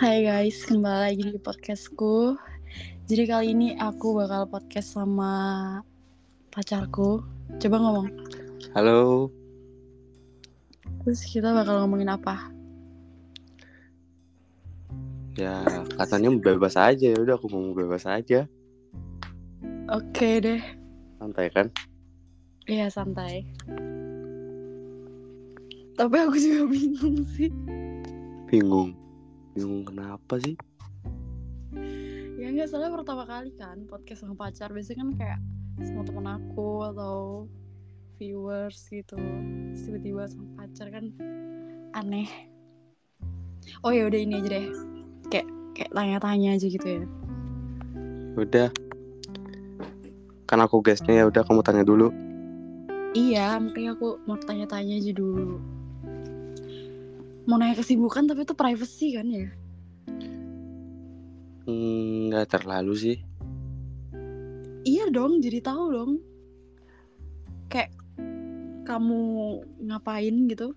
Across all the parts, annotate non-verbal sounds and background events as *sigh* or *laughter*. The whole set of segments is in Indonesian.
Hai guys, kembali lagi di podcastku. Jadi kali ini aku bakal podcast sama pacarku. Coba ngomong. Halo, Terus kita bakal ngomongin apa? ya katanya bebas aja ya udah aku ngomong bebas aja, Oke deh. santai kan? Iya santai. Tapi aku juga *laughs* bingung sih. Bingung, bingung kenapa sih? Ya nggak salah pertama kali kan podcast sama pacar. Biasanya kan kayak sama temen aku atau viewers gitu. Terus Tiba-tiba sama pacar kan aneh. Oh ya udah ini aja deh. Kayak kayak tanya-tanya aja gitu ya. Ya Udah, kan aku guestnya ya udah kamu tanya dulu. Iya, makanya aku mau tanya-tanya aja dulu. Mau nanya kesibukan tapi itu privacy kan ya? Hmm, Nggak terlalu sih. Iya dong, jadi tahu dong. Kayak kamu ngapain gitu?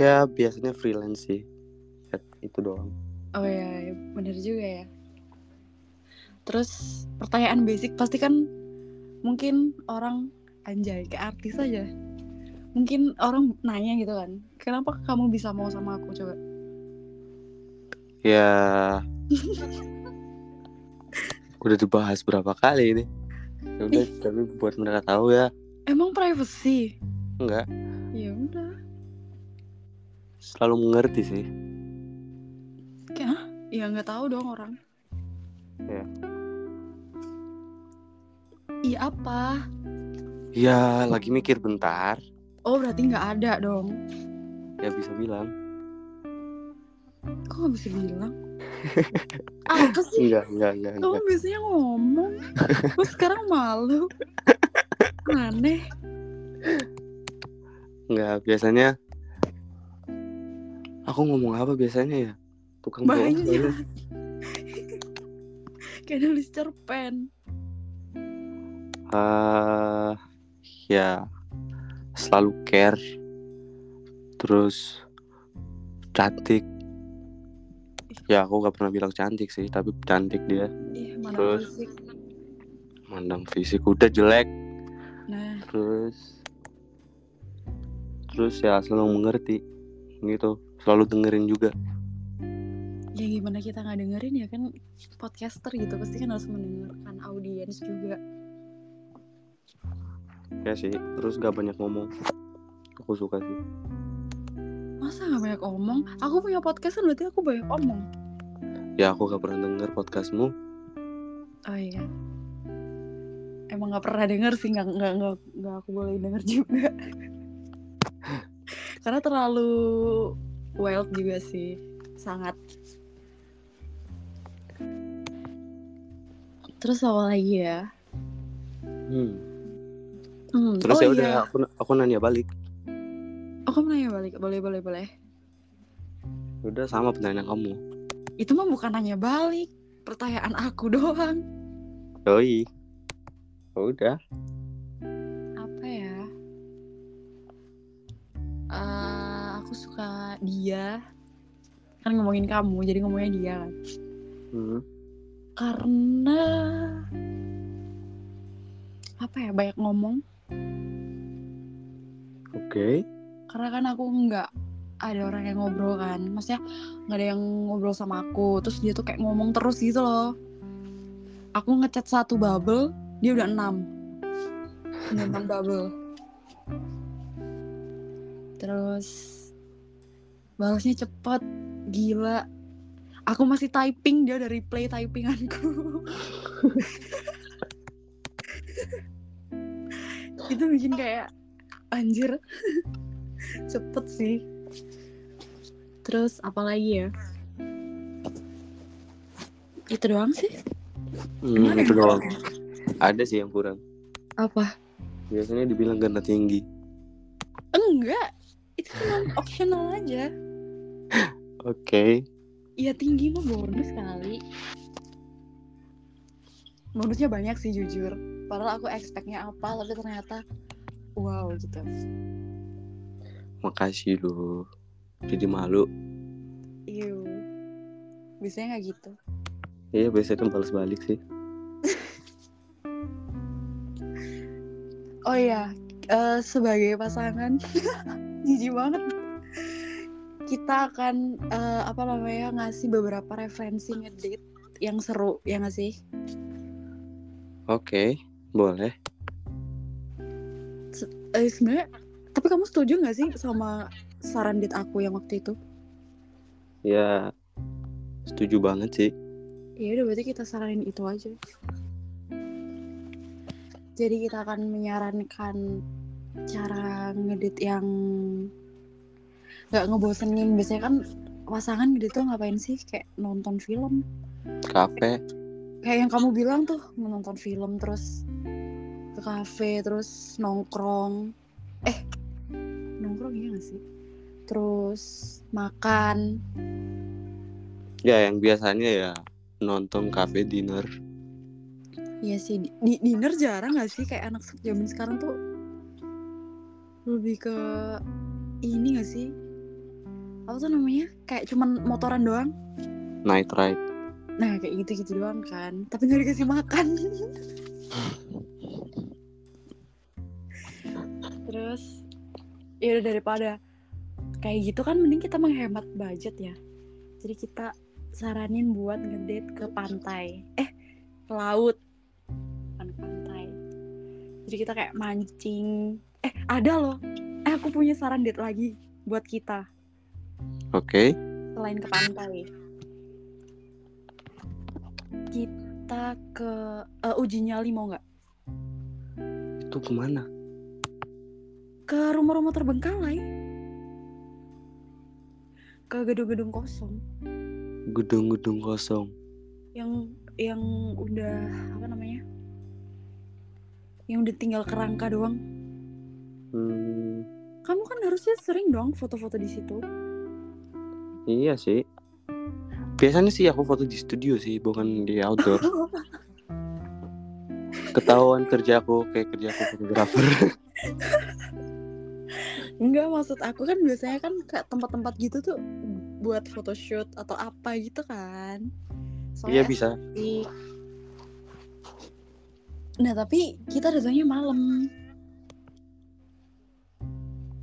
Ya biasanya freelance sih. Ya, itu doang. Oh ya, bener juga ya. Terus pertanyaan basic pasti kan mungkin orang anjay ke artis aja. Mungkin orang nanya gitu kan, kenapa kamu bisa mau sama aku coba? Ya *laughs* udah dibahas berapa kali ini. Ya udah, tapi buat mereka tahu ya, Emang privacy? enggak Ya udah, selalu mengerti sih. ya nggak tahu dong orang. Iya. Iya apa? Ya lagi mikir bentar, Oh berarti nggak ada dong. ya bisa bilang. Kok nggak bisa bilang? Apa sih? Enggak, enggak, enggak, enggak. Kamu biasanya ngomong. Terus sekarang malu. Aneh. Enggak, biasanya aku ngomong apa biasanya ya? Tukang bohong. Banyak. kayaknya. Kayak nulis cerpen. Ah, ya selalu care. Terus cantik. Ya aku gak pernah bilang cantik sih, tapi cantik dia. Iya mana Terus? fisik. Mandang fisik udah jelek, Nah terus terus ya selalu mengerti gitu. Selalu dengerin juga. ya gimana kita nggak dengerin ya kan podcaster gitu pasti kan harus mendengarkan audiens juga. Ya sih, terus gak banyak ngomong. Aku suka sih. Masa nggak banyak omong? Aku punya podcast kan berarti aku banyak omong. Ya aku gak pernah denger podcastmu. Oh iya. Emang nggak pernah denger sih nggak nggak nggak nggak aku boleh denger juga. *laughs* Karena terlalu wild juga sih, sangat. Terus apa lagi ya? Hmm. Hmm, Terus oh ya udah iya. aku aku nanya balik. Aku mau nanya balik, boleh boleh boleh. Udah sama pertanyaan kamu. Itu mah bukan nanya balik, pertanyaan aku *laughs* doang. Doi. Ya Udah. Apa ya? Eh, aku suka dia. Kan ngomongin kamu, jadi ngomongnya dia kan. Hmm. Karena apa ya banyak ngomong. Oke. Karena kan aku nggak ada orang yang ngobrol kan. Maksudnya nggak ada yang ngobrol sama aku. Terus dia tuh kayak ngomong terus gitu loh. Aku ngechat satu bubble, dia udah enam. Udah Enam bubble. Terus balasnya cepet, gila. Aku masih typing, dia udah replay typinganku. Itu bikin kayak anjir. cepet sih. Terus apa lagi ya? Itu doang sih. Hmm, Gimana itu yang kurang? doang. Ada sih yang kurang. Apa? Biasanya dibilang ganda tinggi. Enggak. Itu cuma optional aja. Oke. Iya tinggi mah bonus kali. Bonusnya banyak sih jujur. Padahal aku expectnya apa, tapi ternyata wow gitu. Makasih loh. Jadi malu. Iya. Biasanya nggak gitu. Iya biasanya balas balik sih. Oh iya, eh, sebagai pasangan *laughs* jijik banget. Kita akan eh, apa namanya ngasih beberapa referensi ngedate yang seru ya nggak sih? Oke, boleh. Eh sebenarnya tapi kamu setuju nggak sih sama saran date aku yang waktu itu? Ya setuju banget sih. Ya udah berarti kita saranin itu aja. Jadi kita akan menyarankan cara ngedit yang nggak ngebosenin. Biasanya kan pasangan ngedit tuh ngapain sih? Kayak nonton film. Kafe. Kayak yang kamu bilang tuh menonton film terus ke kafe terus nongkrong. Eh nongkrong iya gak sih? Terus makan. Ya yang biasanya ya nonton kafe dinner. Iya sih, di, di- dinner jarang gak sih kayak anak se- zaman sekarang tuh lebih ke ini gak sih? Apa tuh namanya? Kayak cuman motoran doang. Night ride. Nah, kayak gitu-gitu doang kan. Tapi gak dikasih makan. Terus ya udah daripada kayak gitu kan mending kita menghemat budget ya. Jadi kita saranin buat ngedate ke pantai. Eh, ke laut. Bukan ke pantai. Jadi kita kayak mancing. Eh, ada loh. Eh, aku punya saran date lagi buat kita Oke. selain ke pantai kita ke eh, uji nyali mau nggak Itu kemana? ke rumah-rumah terbengkalai ke gedung-gedung kosong Gedung-gedung kosong. yang yang udah apa namanya yang udah tinggal kerangka doang Hmm, kamu kan harusnya sering dong foto-foto di situ iya sih. Biasanya sih aku foto di studio sih, bukan di outdoor. Ketahuan kerjaku kayak kerjaku fotografer. Enggak maksud aku kan biasanya kan ke tempat-tempat gitu tuh buat photoshoot atau apa gitu kan soalnya Iya bisa. Di- Nah tapi kita datangnya malam.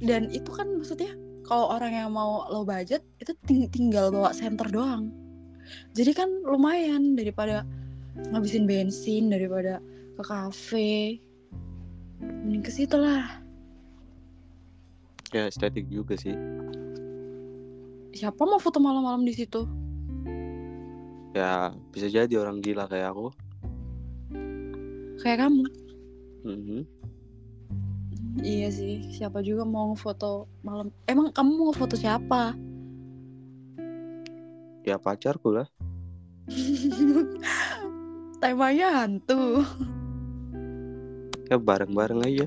Dan itu kan maksudnya kalau orang yang mau low budget itu ting- tinggal bawa senter doang. Jadi kan lumayan daripada ngabisin bensin daripada ke kafe. Mending ke situ lah. Ya estetik juga sih. Siapa mau foto malam-malam di situ? Ya bisa jadi orang gila kayak aku. Kayak kamu. Mhm. Iya sih, siapa juga mau foto malam. Emang kamu mau foto siapa? Ya pacarku lah. Temanya hantu. Ya bareng-bareng aja.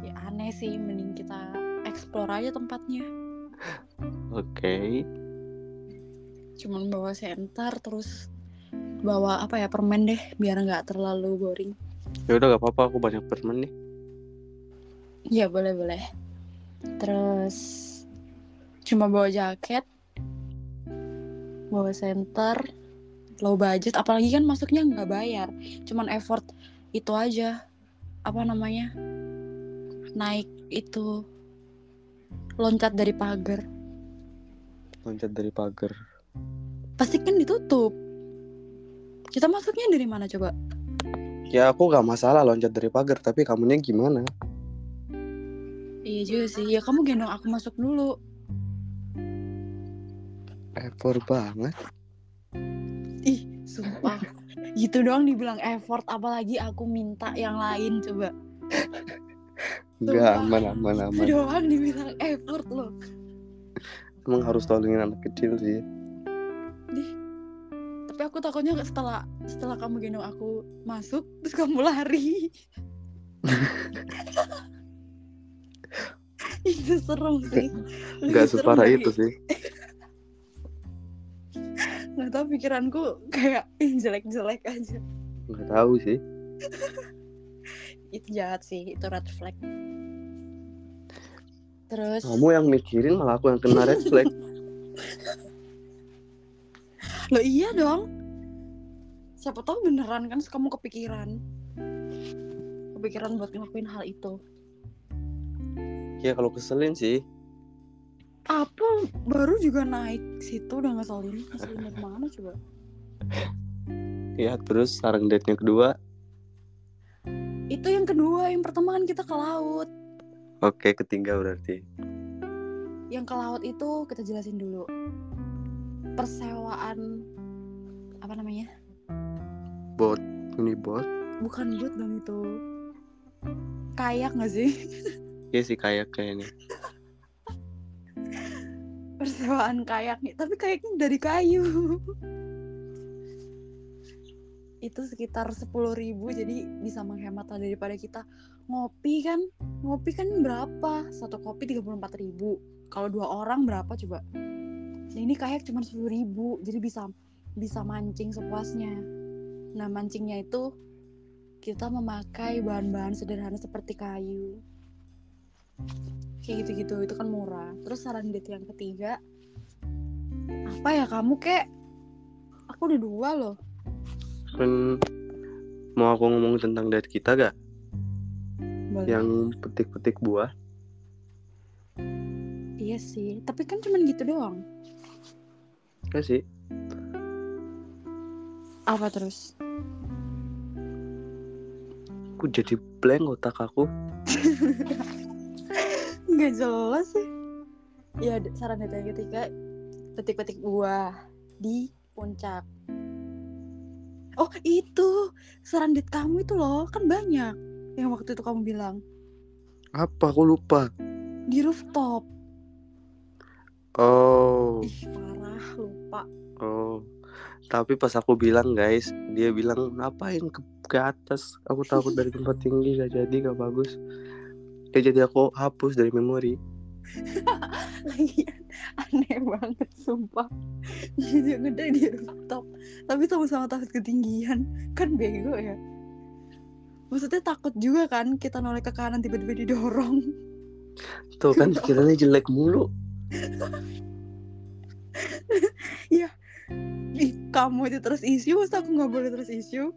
Ya aneh sih, mending kita explore aja tempatnya. Oke. Cuman bawa senter terus bawa apa ya permen deh biar nggak terlalu boring. Ya udah gak apa-apa aku banyak permen nih. Ya boleh boleh. Terus cuma bawa jaket, bawa senter, low budget. Apalagi kan masuknya nggak bayar, cuman effort itu aja. Apa namanya? Naik itu loncat dari pagar. Loncat dari pagar. pasti kan ditutup. Kita masuknya dari mana coba? Ya aku gak masalah loncat dari pagar, tapi kamunya gimana? Iya juga sih. Ya kamu gendong aku masuk dulu. Effort banget. Ih, sumpah. *laughs* gitu doang dibilang effort apalagi aku minta yang lain coba. Enggak Sumpah. aman aman Itu aman. doang dibilang effort loh. Emang harus tolongin anak kecil sih. Tapi aku takutnya setelah setelah kamu gendong aku masuk terus kamu *laughs* lari. itu serem sih. Lebih Enggak serem separah dari- itu sih. Nggak tahu pikiranku kayak *laughs* ih, jelek-jelek aja. Enggak tahu sih. itu jahat sih itu red flag terus ya? Kamu yang mikirin malah aku yang kena red flag. Loh iya dong. Siapa tahu beneran kan terus kamu kepikiran. Kepikiran buat ngelakuin hal itu. *laughs* Ya kalau keselin sih Apa baru juga naik situ udah ngeselin. Ngeselin dari mana coba? Ya terus sarang date nya kedua Itu yang kedua, yang pertama kan kita ke laut. Oke ketiga berarti Yang ke laut itu kita jelasin dulu. Persewaan apa namanya? Bot Ini bot Bukan boot dong itu. Kayak nggak sih? *laughs* Ya sih kayak kayaknya persewaan kayak nih tapi kayaknya dari kayu *laughs* itu sekitar sepuluh ribu jadi bisa menghemat lah daripada kita ngopi kan ngopi kan berapa satu kopi tiga puluh empat ribu kalau dua orang berapa coba nah, ini kayak cuma sepuluh ribu jadi bisa bisa mancing sepuasnya nah mancingnya itu kita memakai bahan-bahan sederhana seperti kayu kayak gitu-gitu itu kan murah terus saran date yang ketiga apa ya kamu kek aku udah dua loh Kan Mau aku ngomong tentang date kita gak? Boleh. Yang petik-petik buah iya sih tapi kan cuman gitu doang Ya sih apa terus Aku jadi blank otak aku nggak jelas sih ya d- saran date yang ketiga petik-petik buah di puncak oh itu saran date kamu itu loh kan banyak yang waktu itu kamu bilang Apa aku lupa di rooftop Oh ih parah lupa Oh Tapi pas aku bilang guys Dia bilang ngapain ke, ke atas Aku takut dari tempat tinggi gak jadi gak bagus Ya jadi aku hapus dari memori Lagian aneh banget sumpah Jadi gede di rooftop Tapi sama-sama takut ketinggian Kan bego ya Maksudnya takut juga kan Kita noleh ke kanan tiba-tiba didorong Tuh kan pikirannya jelek mulu Ih kamu itu terus isu Masa aku gak boleh terus isu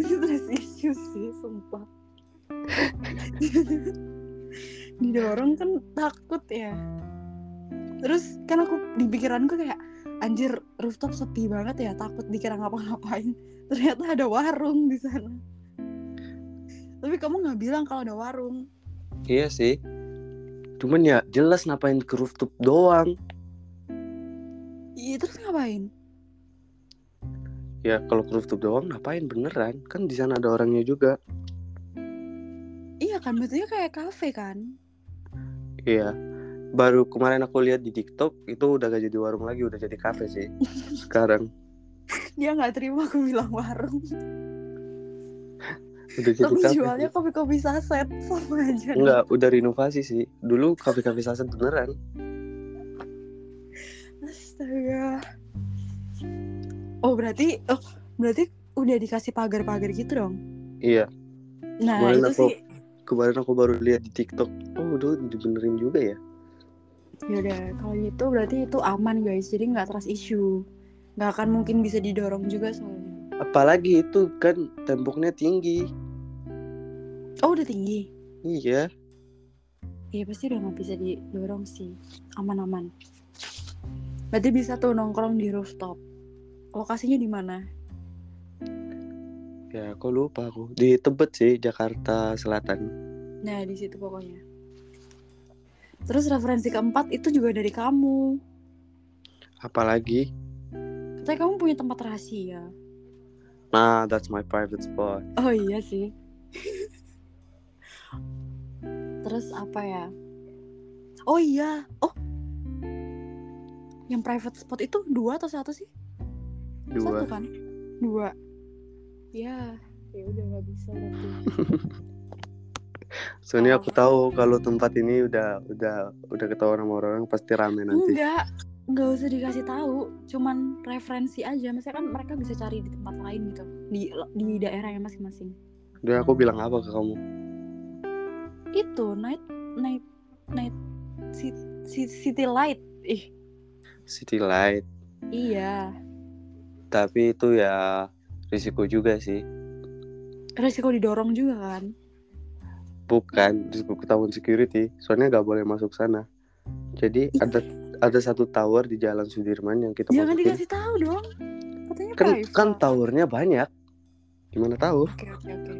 Terus isu sih sumpah Didorong kan takut ya Terus kan aku di pikiranku kayak Anjir rooftop sepi banget ya Takut dikira ngapa-ngapain Ternyata ada warung di sana Tapi kamu nggak bilang kalau ada warung Iya sih. Cuman ya jelas ngapain ke rooftop doang. Iya terus ngapain? Ya kalau ke rooftop doang ngapain beneran? Kan di sana ada orangnya juga. Iya kan Maksudnya kayak kafe kan Iya. Baru kemarin aku lihat di TikTok itu udah gak jadi warung lagi, udah jadi kafe *laughs* sih. Sekarang Dia nggak terima aku bilang warung udah jadi Tapi kafe. jualnya kopi-kopi saset Sama aja Enggak, udah renovasi sih. Dulu kafe-kafe saset beneran. Astaga. Oh berarti, oh berarti udah dikasih pagar-pagar gitu dong. Iya. Nah Kemarin itu aku- sih. Kemarin aku baru lihat di TikTok. Oh, udah dibenerin juga ya. Yaudah kalau gitu berarti itu aman guys. Jadi nggak trust issue. Nggak akan mungkin bisa didorong juga soalnya. Apalagi itu kan temboknya tinggi. Oh udah tinggi. Iya. Iya pasti udah nggak bisa didorong sih. Aman-aman. Berarti bisa tuh nongkrong di rooftop. Lokasinya di mana? Ya, aku lupa aku. Di Tebet sih, Jakarta Selatan. Nah di situ pokoknya. Terus referensi keempat itu juga dari kamu. Apalagi Katanya kamu punya tempat rahasia. Nah, that's my private spot. Oh iya sih. *laughs* Terus apa ya? Oh iya. Oh. Yang private spot itu dua atau satu sih? Satu Dua. kan? Dua. Ya, ya udah nggak bisa berarti. Soalnya Oh. aku tahu kalau tempat ini udah udah udah ketahuan sama orang-orang pasti rame nanti. Enggak, nggak usah dikasih tahu, cuman referensi aja. Maksudnya kan mereka bisa cari di tempat lain gitu, di di daerahnya masing-masing. Udah aku bilang apa ke kamu? Itu night night night ci- ci- city light. Ih, City Light. Iya. Tapi itu ya risiko juga sih. Resiko didorong juga kan. Bukan risiko ketahuan security. Soalnya nggak boleh masuk sana. Jadi ada ada satu tower di Jalan Sudirman yang kita Jangan masukin. dikasih tahu dong. Katanya Kan private. kan towernya banyak. Gimana tahu? Oke oke oke.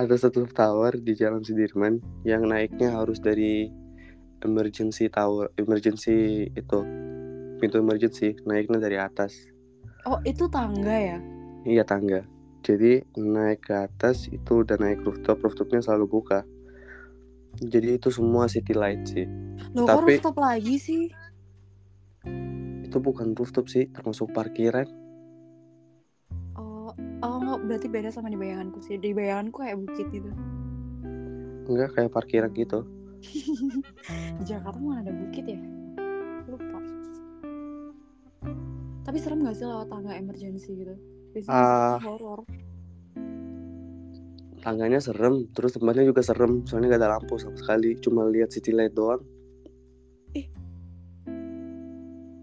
Ada satu tower di Jalan Sudirman yang naiknya harus dari emergency tower, emergency itu pintu emergency naiknya dari atas. Oh itu tangga ya? Iya tangga. Jadi naik ke atas itu udah naik rooftop, rooftopnya selalu buka. Jadi itu semua city light sih. Loh kok Tapi- rooftop lagi sih? Itu bukan rooftop sih, termasuk parkiran. Oh oh nggak, berarti beda sama di bayanganku sih. Di bayanganku kayak bukit gitu. Enggak kayak parkiran gitu. di Jakarta mana ada bukit ya? Lupa. Tapi serem gak sih lewat tangga emergency gitu? Biasanya Ah. horor. Tangganya serem, terus tempatnya juga serem. Soalnya nggak ada lampu sama sekali, cuma lihat city light doang.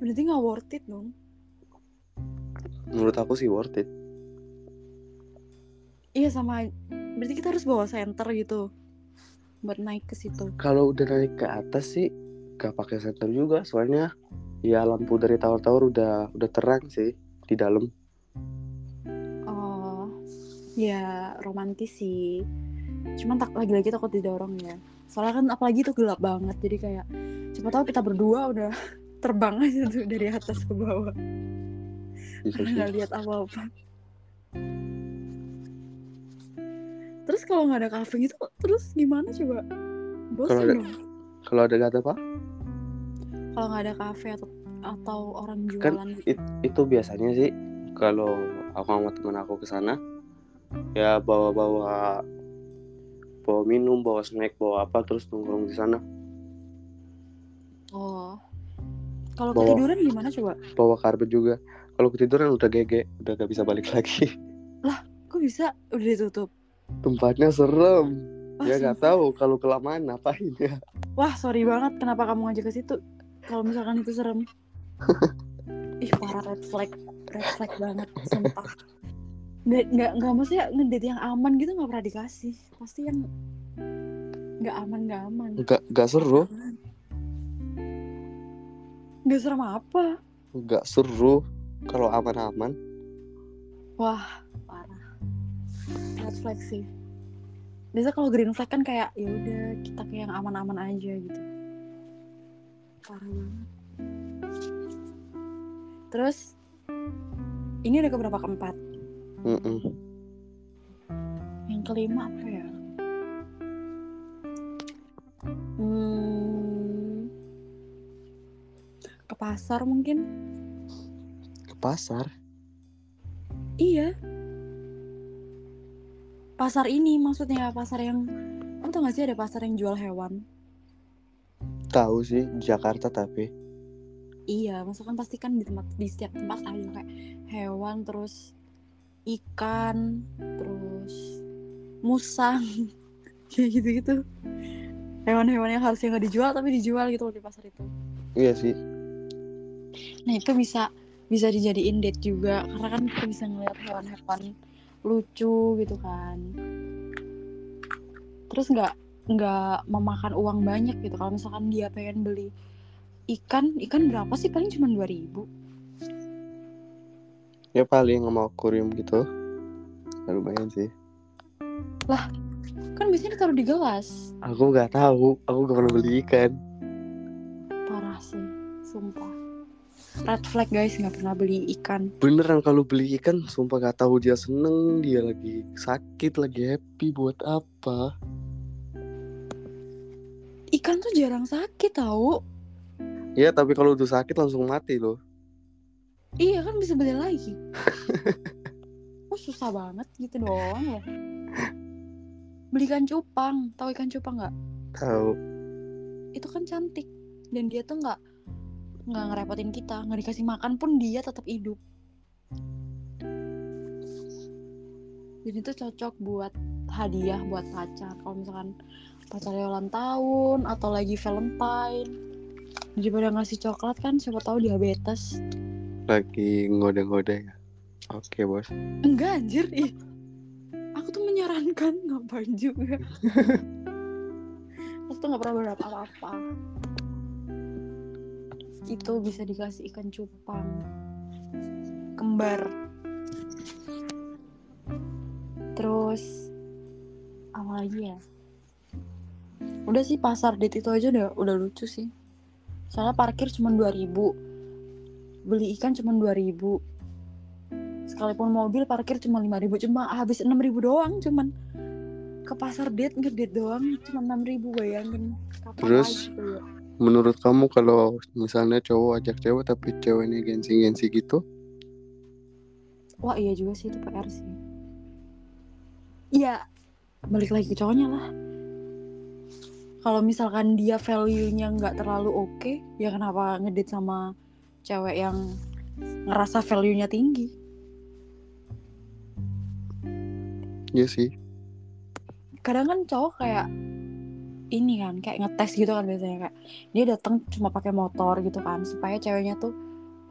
Berarti nggak worth it dong. Menurut aku sih worth it. Iya sama. Berarti kita harus bawa senter gitu buat naik ke situ. Kalau udah naik ke atas sih, nggak pakai senter juga. Soalnya ya lampu dari tower-tower udah udah terang sih di dalam. Oh, ya romantis sih. Cuman tak lagi-lagi takut didorong ya. Soalnya kan apalagi itu gelap banget jadi kayak siapa tahu kita berdua udah *laughs* terbang aja tuh dari atas ke bawah. Bisa Karena sih. nggak lihat apa-apa. Terus kalau nggak ada kafe gitu, terus gimana coba? Bosan Kalau ada- dong. Kalau ada nggak ada apa? Kalau nggak ada kafe atau atau orang Kan jualan gitu. it- itu biasanya sih kalau aku sama teman aku ke sana ya bawa-bawa bawa minum, bawa snack, bawa apa terus nongkrong di sana, Oh. Kalau Bawa- ketiduran gimana coba? bawa karpet juga. Kalau ketiduran udah gege, udah gak bisa balik *laughs* lagi. Kok bisa udah ditutup? Tempatnya serem. Oh, ya nggak sumpah. tahu kalau kelamaan apain ya. Wah, sorry banget kenapa kamu ngajak ke situ. Kalau misalkan itu serem. Ih, parah red flag. Red flag banget, sumpah. Nggak, nggak, nggak maksudnya ngedate yang aman gitu nggak pernah dikasih. Pasti yang nggak aman, nggak aman. Gak, gak seru, Nggak serem apa. gak seru. Kalau aman-aman, Wah, parah. Red flag sih. Biasa kalau green flag kan kayak ya udah kita kayak yang aman-aman aja gitu. Parah banget. Terus ini udah keberapa keempat? Mm-mm. Yang kelima apa ya? Hmm, ke pasar mungkin? ke pasar. Iya. Pasar ini maksudnya pasar yang kamu tau gak sih ada pasar yang jual hewan? Tahu sih di Jakarta tapi Iya, maksudnya kan pasti kan di tempat di setiap tempat ada kayak hewan terus ikan terus musang *laughs* kayak gitu-gitu. Hewan-hewan yang harusnya nggak dijual tapi dijual gitu loh di pasar itu. iya sih. Nah itu bisa bisa dijadiin date juga karena kan kita bisa ngeliat hewan-hewan lucu gitu kan. Terus nggak nggak memakan uang banyak gitu kalau misalkan dia pengen beli ikan ikan berapa sih paling cuma 2000 ribu Ya paling sama akuarium gitu. Ya, lumayan sih. kan biasanya ditaruh di gelas Aku nggak tahu, aku gak pernah beli ikan. parah sih sumpah red flag guys nggak pernah beli ikan Beneran kalau beli ikan, sumpah gak tahu dia seneng, dia lagi sakit, lagi happy, buat apa? ikan tuh jarang sakit tau Ya tapi kalau udah sakit langsung mati loh. iya kan bisa beli lagi oh susah banget gitu doang ya beli ikan cupang tahu ikan cupang nggak Tahu? itu kan cantik dan dia tuh nggak nggak ngerepotin kita nggak dikasih makan pun dia tetap hidup jadi itu cocok buat hadiah buat pacar kalau misalkan pacarnya ulang tahun atau lagi Valentine daripada ngasih coklat kan siapa tahu diabetes lagi ngode-ngode ya oke bos Enggak anjir ih. Aku tuh menyarankan ngapain juga Aku tuh gak pernah berapa apa-apa Itu bisa dikasih ikan cupang Kembar Terus Apa lagi ya Udah sih pasar date itu aja udah, udah lucu sih Soalnya parkir cuma 2000 Beli ikan cuma 2000 sekalipun mobil parkir cuma 5000 cuma habis 6000 doang cuman ke pasar date ngedate doang cuma 6000 bayangin Kapan Terus? lagi tuh ya? menurut kamu kalau misalnya cowok ajak cewek tapi ceweknya gengsi-gengsi gitu wah iya juga sih itu PR sih iya balik lagi ke cowoknya lah kalau misalkan dia value-nya nggak terlalu oke ya kenapa ngedate sama cewek yang ngerasa value-nya tinggi ya sih kadang kan cowok kayak ini kan kayak ngetes gitu kan biasanya kayak dia datang cuma pakai motor gitu kan supaya ceweknya tuh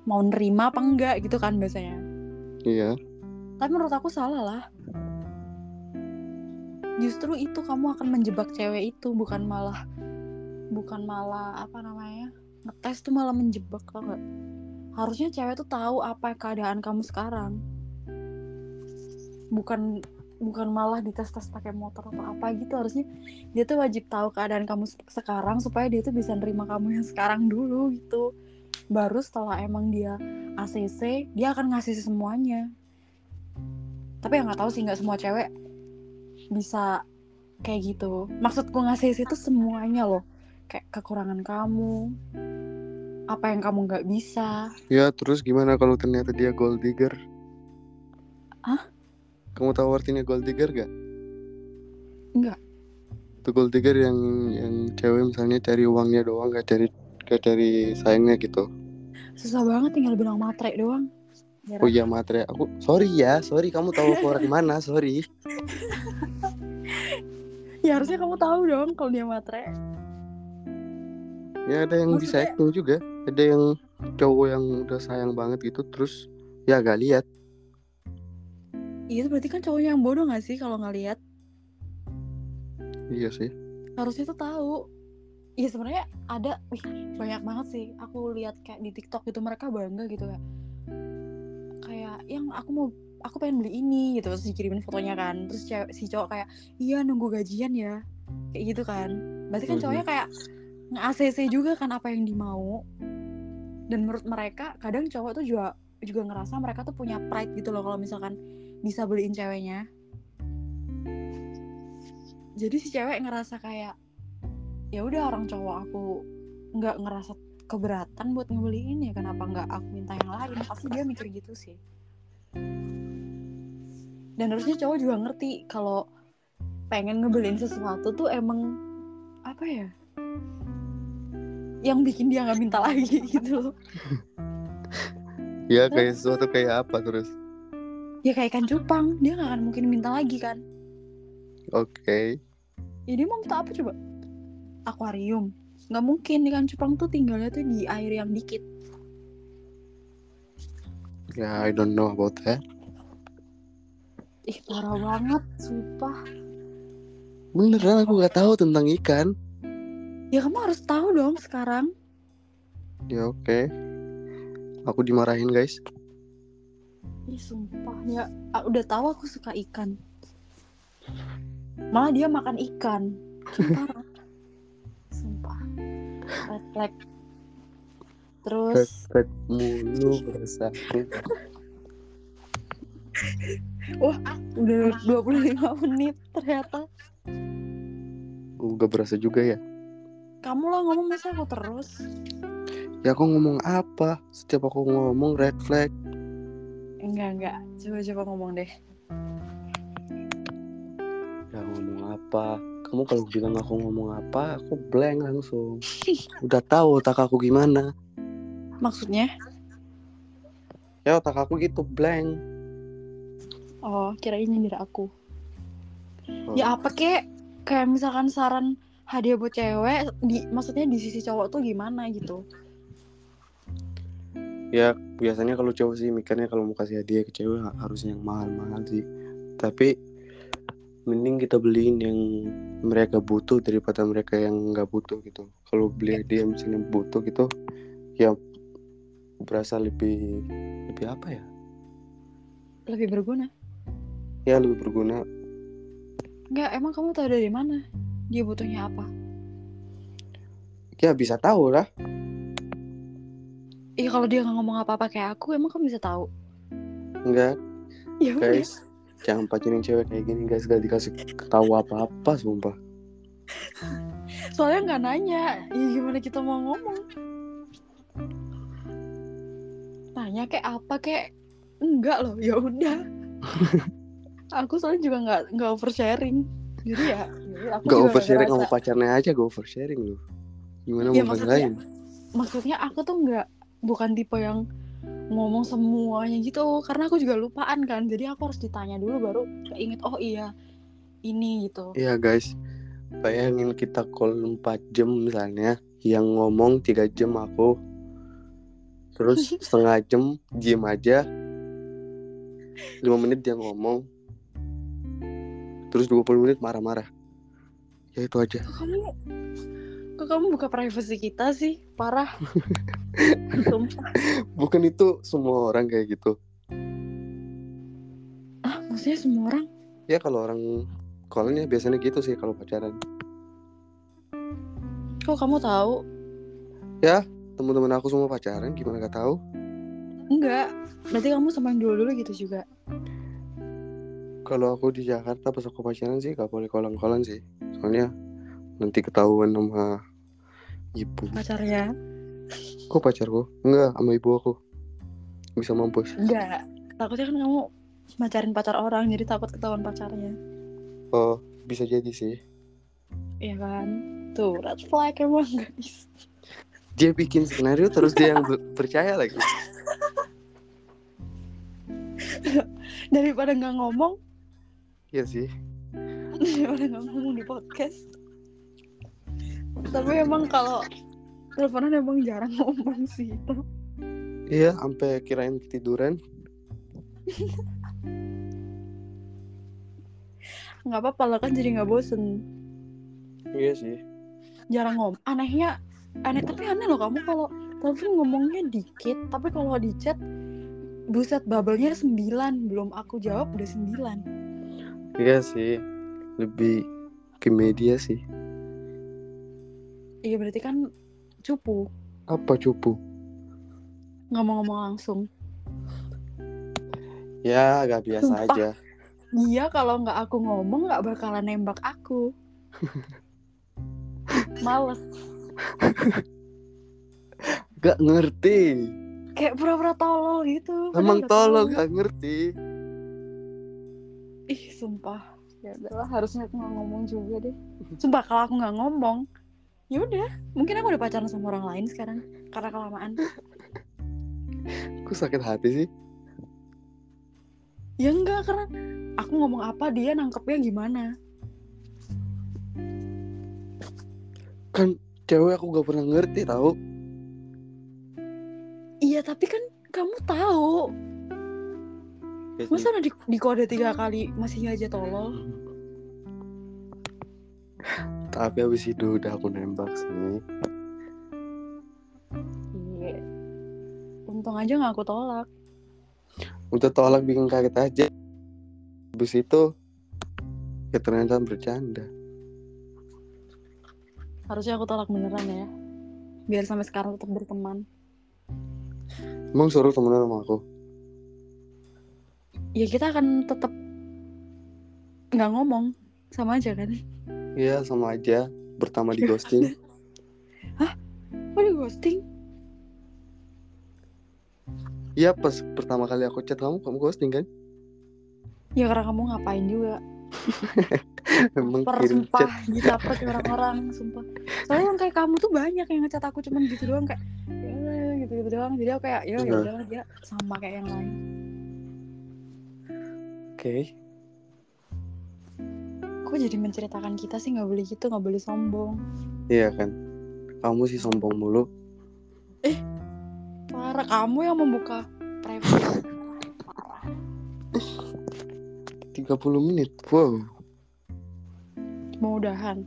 mau nerima apa enggak gitu kan biasanya iya tapi menurut aku salah lah justru itu kamu akan menjebak cewek itu bukan malah bukan malah apa namanya ngetes tuh malah menjebak tau nggak harusnya cewek tuh tahu apa keadaan kamu sekarang bukan bukan malah dites tes pakai motor atau apa gitu harusnya dia tuh wajib tahu keadaan kamu se- sekarang supaya dia tuh bisa nerima kamu yang sekarang dulu gitu baru setelah emang dia ACC dia akan ngasih semuanya tapi yang nggak tahu sih nggak semua cewek bisa kayak gitu maksudku ngasih itu semuanya loh kayak kekurangan kamu apa yang kamu nggak bisa ya terus gimana kalau ternyata dia gold digger Hah? kamu tahu artinya gold digger gak Nggak. itu gold digger yang yang cewek misalnya cari uangnya doang gak cari gak cari sayangnya gitu susah banget tinggal bilang matre doang Biar- oh iya materi aku sorry ya sorry kamu tahu aku orang mana sorry ya harusnya kamu tahu dong kalau dia matre ya ada yang Maksudnya- bisa acting juga ada yang cowok yang udah sayang banget gitu terus ya gak lihat iya itu berarti kan cowoknya yang bodoh nggak sih kalau nggak lihat iya sih harusnya tuh tahu Iya sebenarnya ada wih, banyak banget sih aku lihat kayak di TikTok gitu mereka bangga gitu kayak kayak yang aku mau aku pengen beli ini gitu terus dikirimin fotonya kan terus cewek- si cowok kayak iya nunggu gajian ya kayak gitu kan berarti kan Mhm. cowoknya kayak nge-ACC juga kan apa yang dimau dan menurut mereka kadang cowok tuh juga juga ngerasa mereka tuh punya pride gitu loh kalau misalkan bisa beliin ceweknya jadi si cewek ngerasa kayak ya udah orang cowok aku nggak ngerasa keberatan buat ngebeliin ya kenapa nggak aku minta yang lain pasti dia mikir gitu sih dan harusnya cowok juga ngerti kalau pengen ngebeliin sesuatu tuh emang apa ya yang bikin dia nggak minta lagi *laughs* gitu loh ya kayak sesuatu kayak apa terus ya kayak ikan cupang dia nggak akan mungkin minta lagi kan oke ya dia mau minta apa coba akuarium nggak mungkin ikan cupang tuh tinggalnya tuh di air yang dikit ya I don't know about that ih parah banget sumpah beneran aku nggak tahu tentang ikan ya kamu harus tahu dong sekarang ya oke aku dimarahin guys Ih sumpah ya ah, udah tahu aku suka ikan. Malah dia makan ikan. Parah. *laughs* sumpah. Red flag. Terus Tet mulu berasaku udah 25 menit ternyata. gak berasa juga ya Kamu lo ngomong masa aku terus. ya aku ngomong apa setiap aku ngomong red flag Enggak enggak. Coba coba ngomong deh. ya ngomong apa kamu kalau bilang aku ngomong apa aku blank langsung udah tahu otak aku gimana Maksudnya? ya otak aku gitu blank Oh kirain nyindir aku. Oh. Ya apa kek? Kayak misalkan saran hadiah buat cewek, di, maksudnya di sisi cowok tuh gimana gitu? ya biasanya kalau cowok sih mikirnya kalau mau kasih hadiah ke cewek ha- harus yang mahal-mahal sih tapi mending kita beliin yang mereka butuh daripada mereka yang nggak butuh gitu kalau Iya. beli hadiah misalnya butuh gitu ya berasa lebih lebih apa ya lebih berguna ya lebih berguna nggak emang kamu tahu dari mana dia butuhnya apa ya bisa tahu lah Iya kalau dia nggak ngomong apa-apa kayak aku emang kamu bisa tahu *laughs* enggak ya udah. guys jangan pacarin cewek kayak gini guys gak dikasih tahu apa apa sumpah soalnya nggak nanya ya gimana kita mau ngomong tanya kayak apa kayak enggak loh ya *laughs* udah aku soalnya juga nggak nggak oversharing jadi ya ya udah, aku gak juga oversharing sama ngerasa. pacarnya aja gak oversharing lu gimana Iya, mau maksudnya- pacarin maksudnya aku tuh nggak bukan tipe yang ngomong semuanya gitu karena aku juga lupaan kan jadi aku harus ditanya dulu baru keinget oh iya ini gitu Iya guys, bayangin kita call 4 jam misalnya, yang ngomong 3 jam aku, terus setengah jam diem aja, 5 menit dia ngomong, terus 20 menit marah-marah. Ya itu aja. kok kamu kok kamu buka privacy kita sih parah Sumpah. Bukan itu semua orang kayak gitu. ah maksudnya semua orang Ya kalau orang callnya biasanya gitu sih kalau pacaran. kok kamu tahu Teman-teman aku semua pacaran, gimana gak tahu? enggak berarti kamu samain dulu dulu gitu juga Kalau aku di Jakarta pas aku pacaran sih gak boleh kolan-kolan sih. Soalnya nanti ketahuan sama ibu. pacarnya Kok pacarku? Enggak, sama ibu aku. Bisa mampus. enggak takutnya kan kamu pacarin pacar orang jadi takut ketahuan pacarnya Oh, bisa jadi sih. iya kan tuh red flag emang guys Dia bikin skenario terus dia yang ber- percaya lagi. daripada nggak ngomong Iya sih. daripada nggak ngomong di podcast tapi emang kalau teleponan emang jarang ngomong sih itu Iya, sampai kirain ketiduran. nggak apa-apa lah kan jadi nggak bosen Iya sih. jarang ngomong anehnya aneh tapi aneh loh kamu kalau telepon ngomongnya dikit tapi kalau di chat buset bubble-nya 9 belum aku jawab udah 9 Iya sih. Lebih ke media sih. iya berarti kan cupu Apa cupu? nggak mau ngomong langsung Ya, agak biasa Sumpah. aja. dia kalau nggak aku ngomong nggak bakalan nembak aku males Gak ngerti. kayak pura-pura tolol gitu padahal Emang udah tolol gak ngerti. ih sumpah ya udahlah harusnya aku nggak ngomong juga deh sumpah kalau aku nggak ngomong ya udah mungkin aku udah pacaran sama orang lain sekarang karena kelamaan Kok sakit hati sih? ya enggak karena aku ngomong apa dia nangkepnya gimana Kan cewek aku gak pernah ngerti tahu. iya tapi kan kamu tahu Iya sih. masa udah di, di kode tiga kali masih aja tolol Tapi habis itu udah aku nembak sih. iya untung aja nggak aku tolak udah tolak bikin kaget aja habis itu ya ternyata bercanda harusnya aku tolak beneran ya biar sampai sekarang tetap berteman emang suruh temenan sama aku ya kita akan tetap nggak ngomong sama aja kan iya sama aja pertama di ghosting Oh di ghosting? iya pas pertama kali aku chat kamu kamu ghosting kan *laughs* Ya karena kamu ngapain juga emang Per kirim sumpah chat Gila per ke orang-orang Sumpah Soalnya yang kayak kamu tuh banyak yang ngecat aku Cuman gitu doang kayak ya udah, gitu-gitu doang Jadi aku kayak ya Enggak. udah dia sama kayak yang lain oke Kok jadi menceritakan kita sih nggak boleh gitu nggak boleh sombong iya kan kamu sih sombong mulu Parah Rara kamu yang membuka private 30 menit wow mau udahan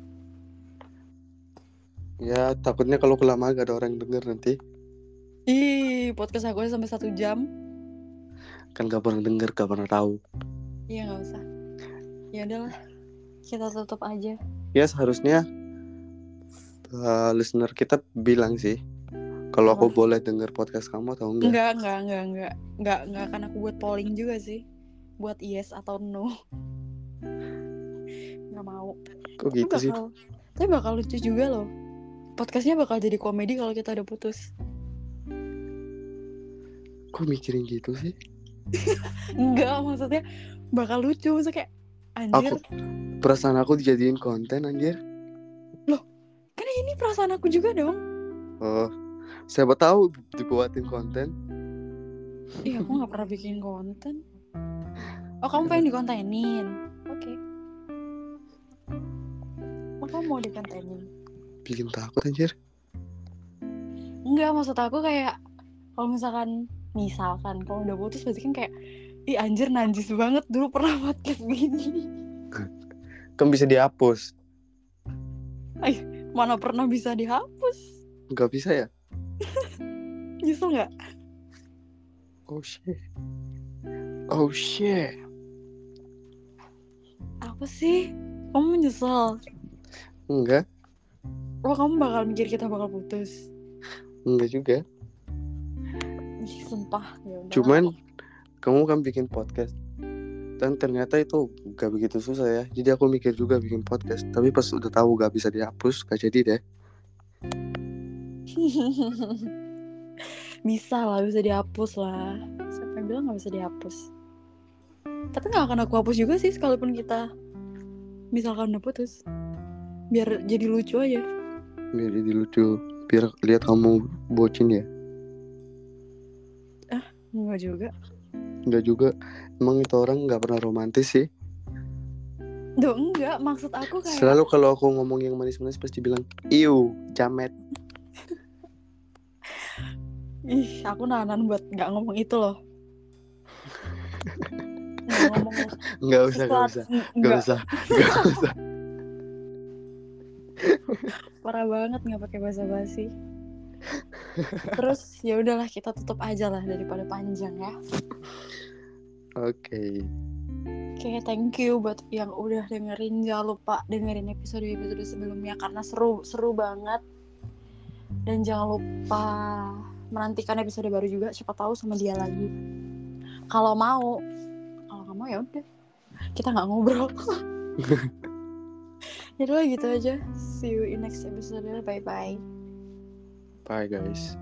ya takutnya kalau kelamaan gak ada orang yang denger nanti ih podcast aku aja sampai satu jam kan gak pernah denger gak pernah tahu iya nggak usah ya udahlah kita tutup aja ya seharusnya eh, listener kita bilang sih kalau aku boleh denger podcast kamu atau enggak Enggak, enggak, enggak, enggak, enggak, enggak akan aku buat polling juga sih, buat yes atau no. Enggak mau. kok gitu tapi sih bakal, tapi bakal lucu juga loh. Podcastnya bakal jadi komedi kalau kita udah putus. kok mikirin gitu sih Enggak, maksudnya bakal lucu, maksudnya kayak anjir. Hmm. Aku- perasaan aku dijadiin konten anjir Karena ini perasaan aku juga dong. oh siapa tahu dibuatin konten Iya, aku nggak pernah bikin konten. Oh, kamu pengen dikontenin? Oke. Oh, kamu mau dikontenin? bikin takut anjir Enggak, maksud aku kayak kalau misalkan misalkan kalau udah putus pasti kan kayak ih anjir najis banget dulu pernah podcast gini. *laughs* kan bisa dihapus Mana pernah bisa dihapus? nggak bisa ya Nyesel nggak? oh shit oh shit Apa sih? Kamu menyesal? enggak Wah kamu bakal mikir kita bakal putus? enggak juga Ih, sumpah. Ya udah. cuman kamu kan bikin podcast dan ternyata itu gak begitu susah ya jadi aku mikir juga bikin podcast tapi pas udah tahu gak bisa dihapus gak jadi deh *laughs* bisa lah, bisa dihapus lah. Siapa yang bilang nggak bisa dihapus? Tapi nggak akan aku hapus juga sih, sekalipun kita misalkan udah putus. Biar jadi lucu aja. biar jadi lucu biar lihat kamu bocin ya Enggak juga. enggak juga emang itu orang nggak pernah romantis sih Duh, enggak. Maksud aku kayak... selalu kalau aku ngomong yang manis-manis pasti bilang iu jamet Ih, aku nahan buat nggak ngomong itu loh. Nggak ngomong *laughs* nggak usah nggak sesuatu. usah nggak Nggak, usah nggak usah parah banget nggak pakai bahasa basi. Terus ya udahlah kita tutup aja lah daripada panjang ya. oke Oke, thank you buat yang udah dengerin. Jangan lupa dengerin episode-episode sebelumnya karena seru seru banget. Dan jangan lupa menantikan episode baru juga. Siapa tahu sama dia lagi. Kalau mau, kalau nggak mau ya udah. Kita nggak ngobrol. Jadi lah gitu aja. See you in next episode. Bye bye. bye guys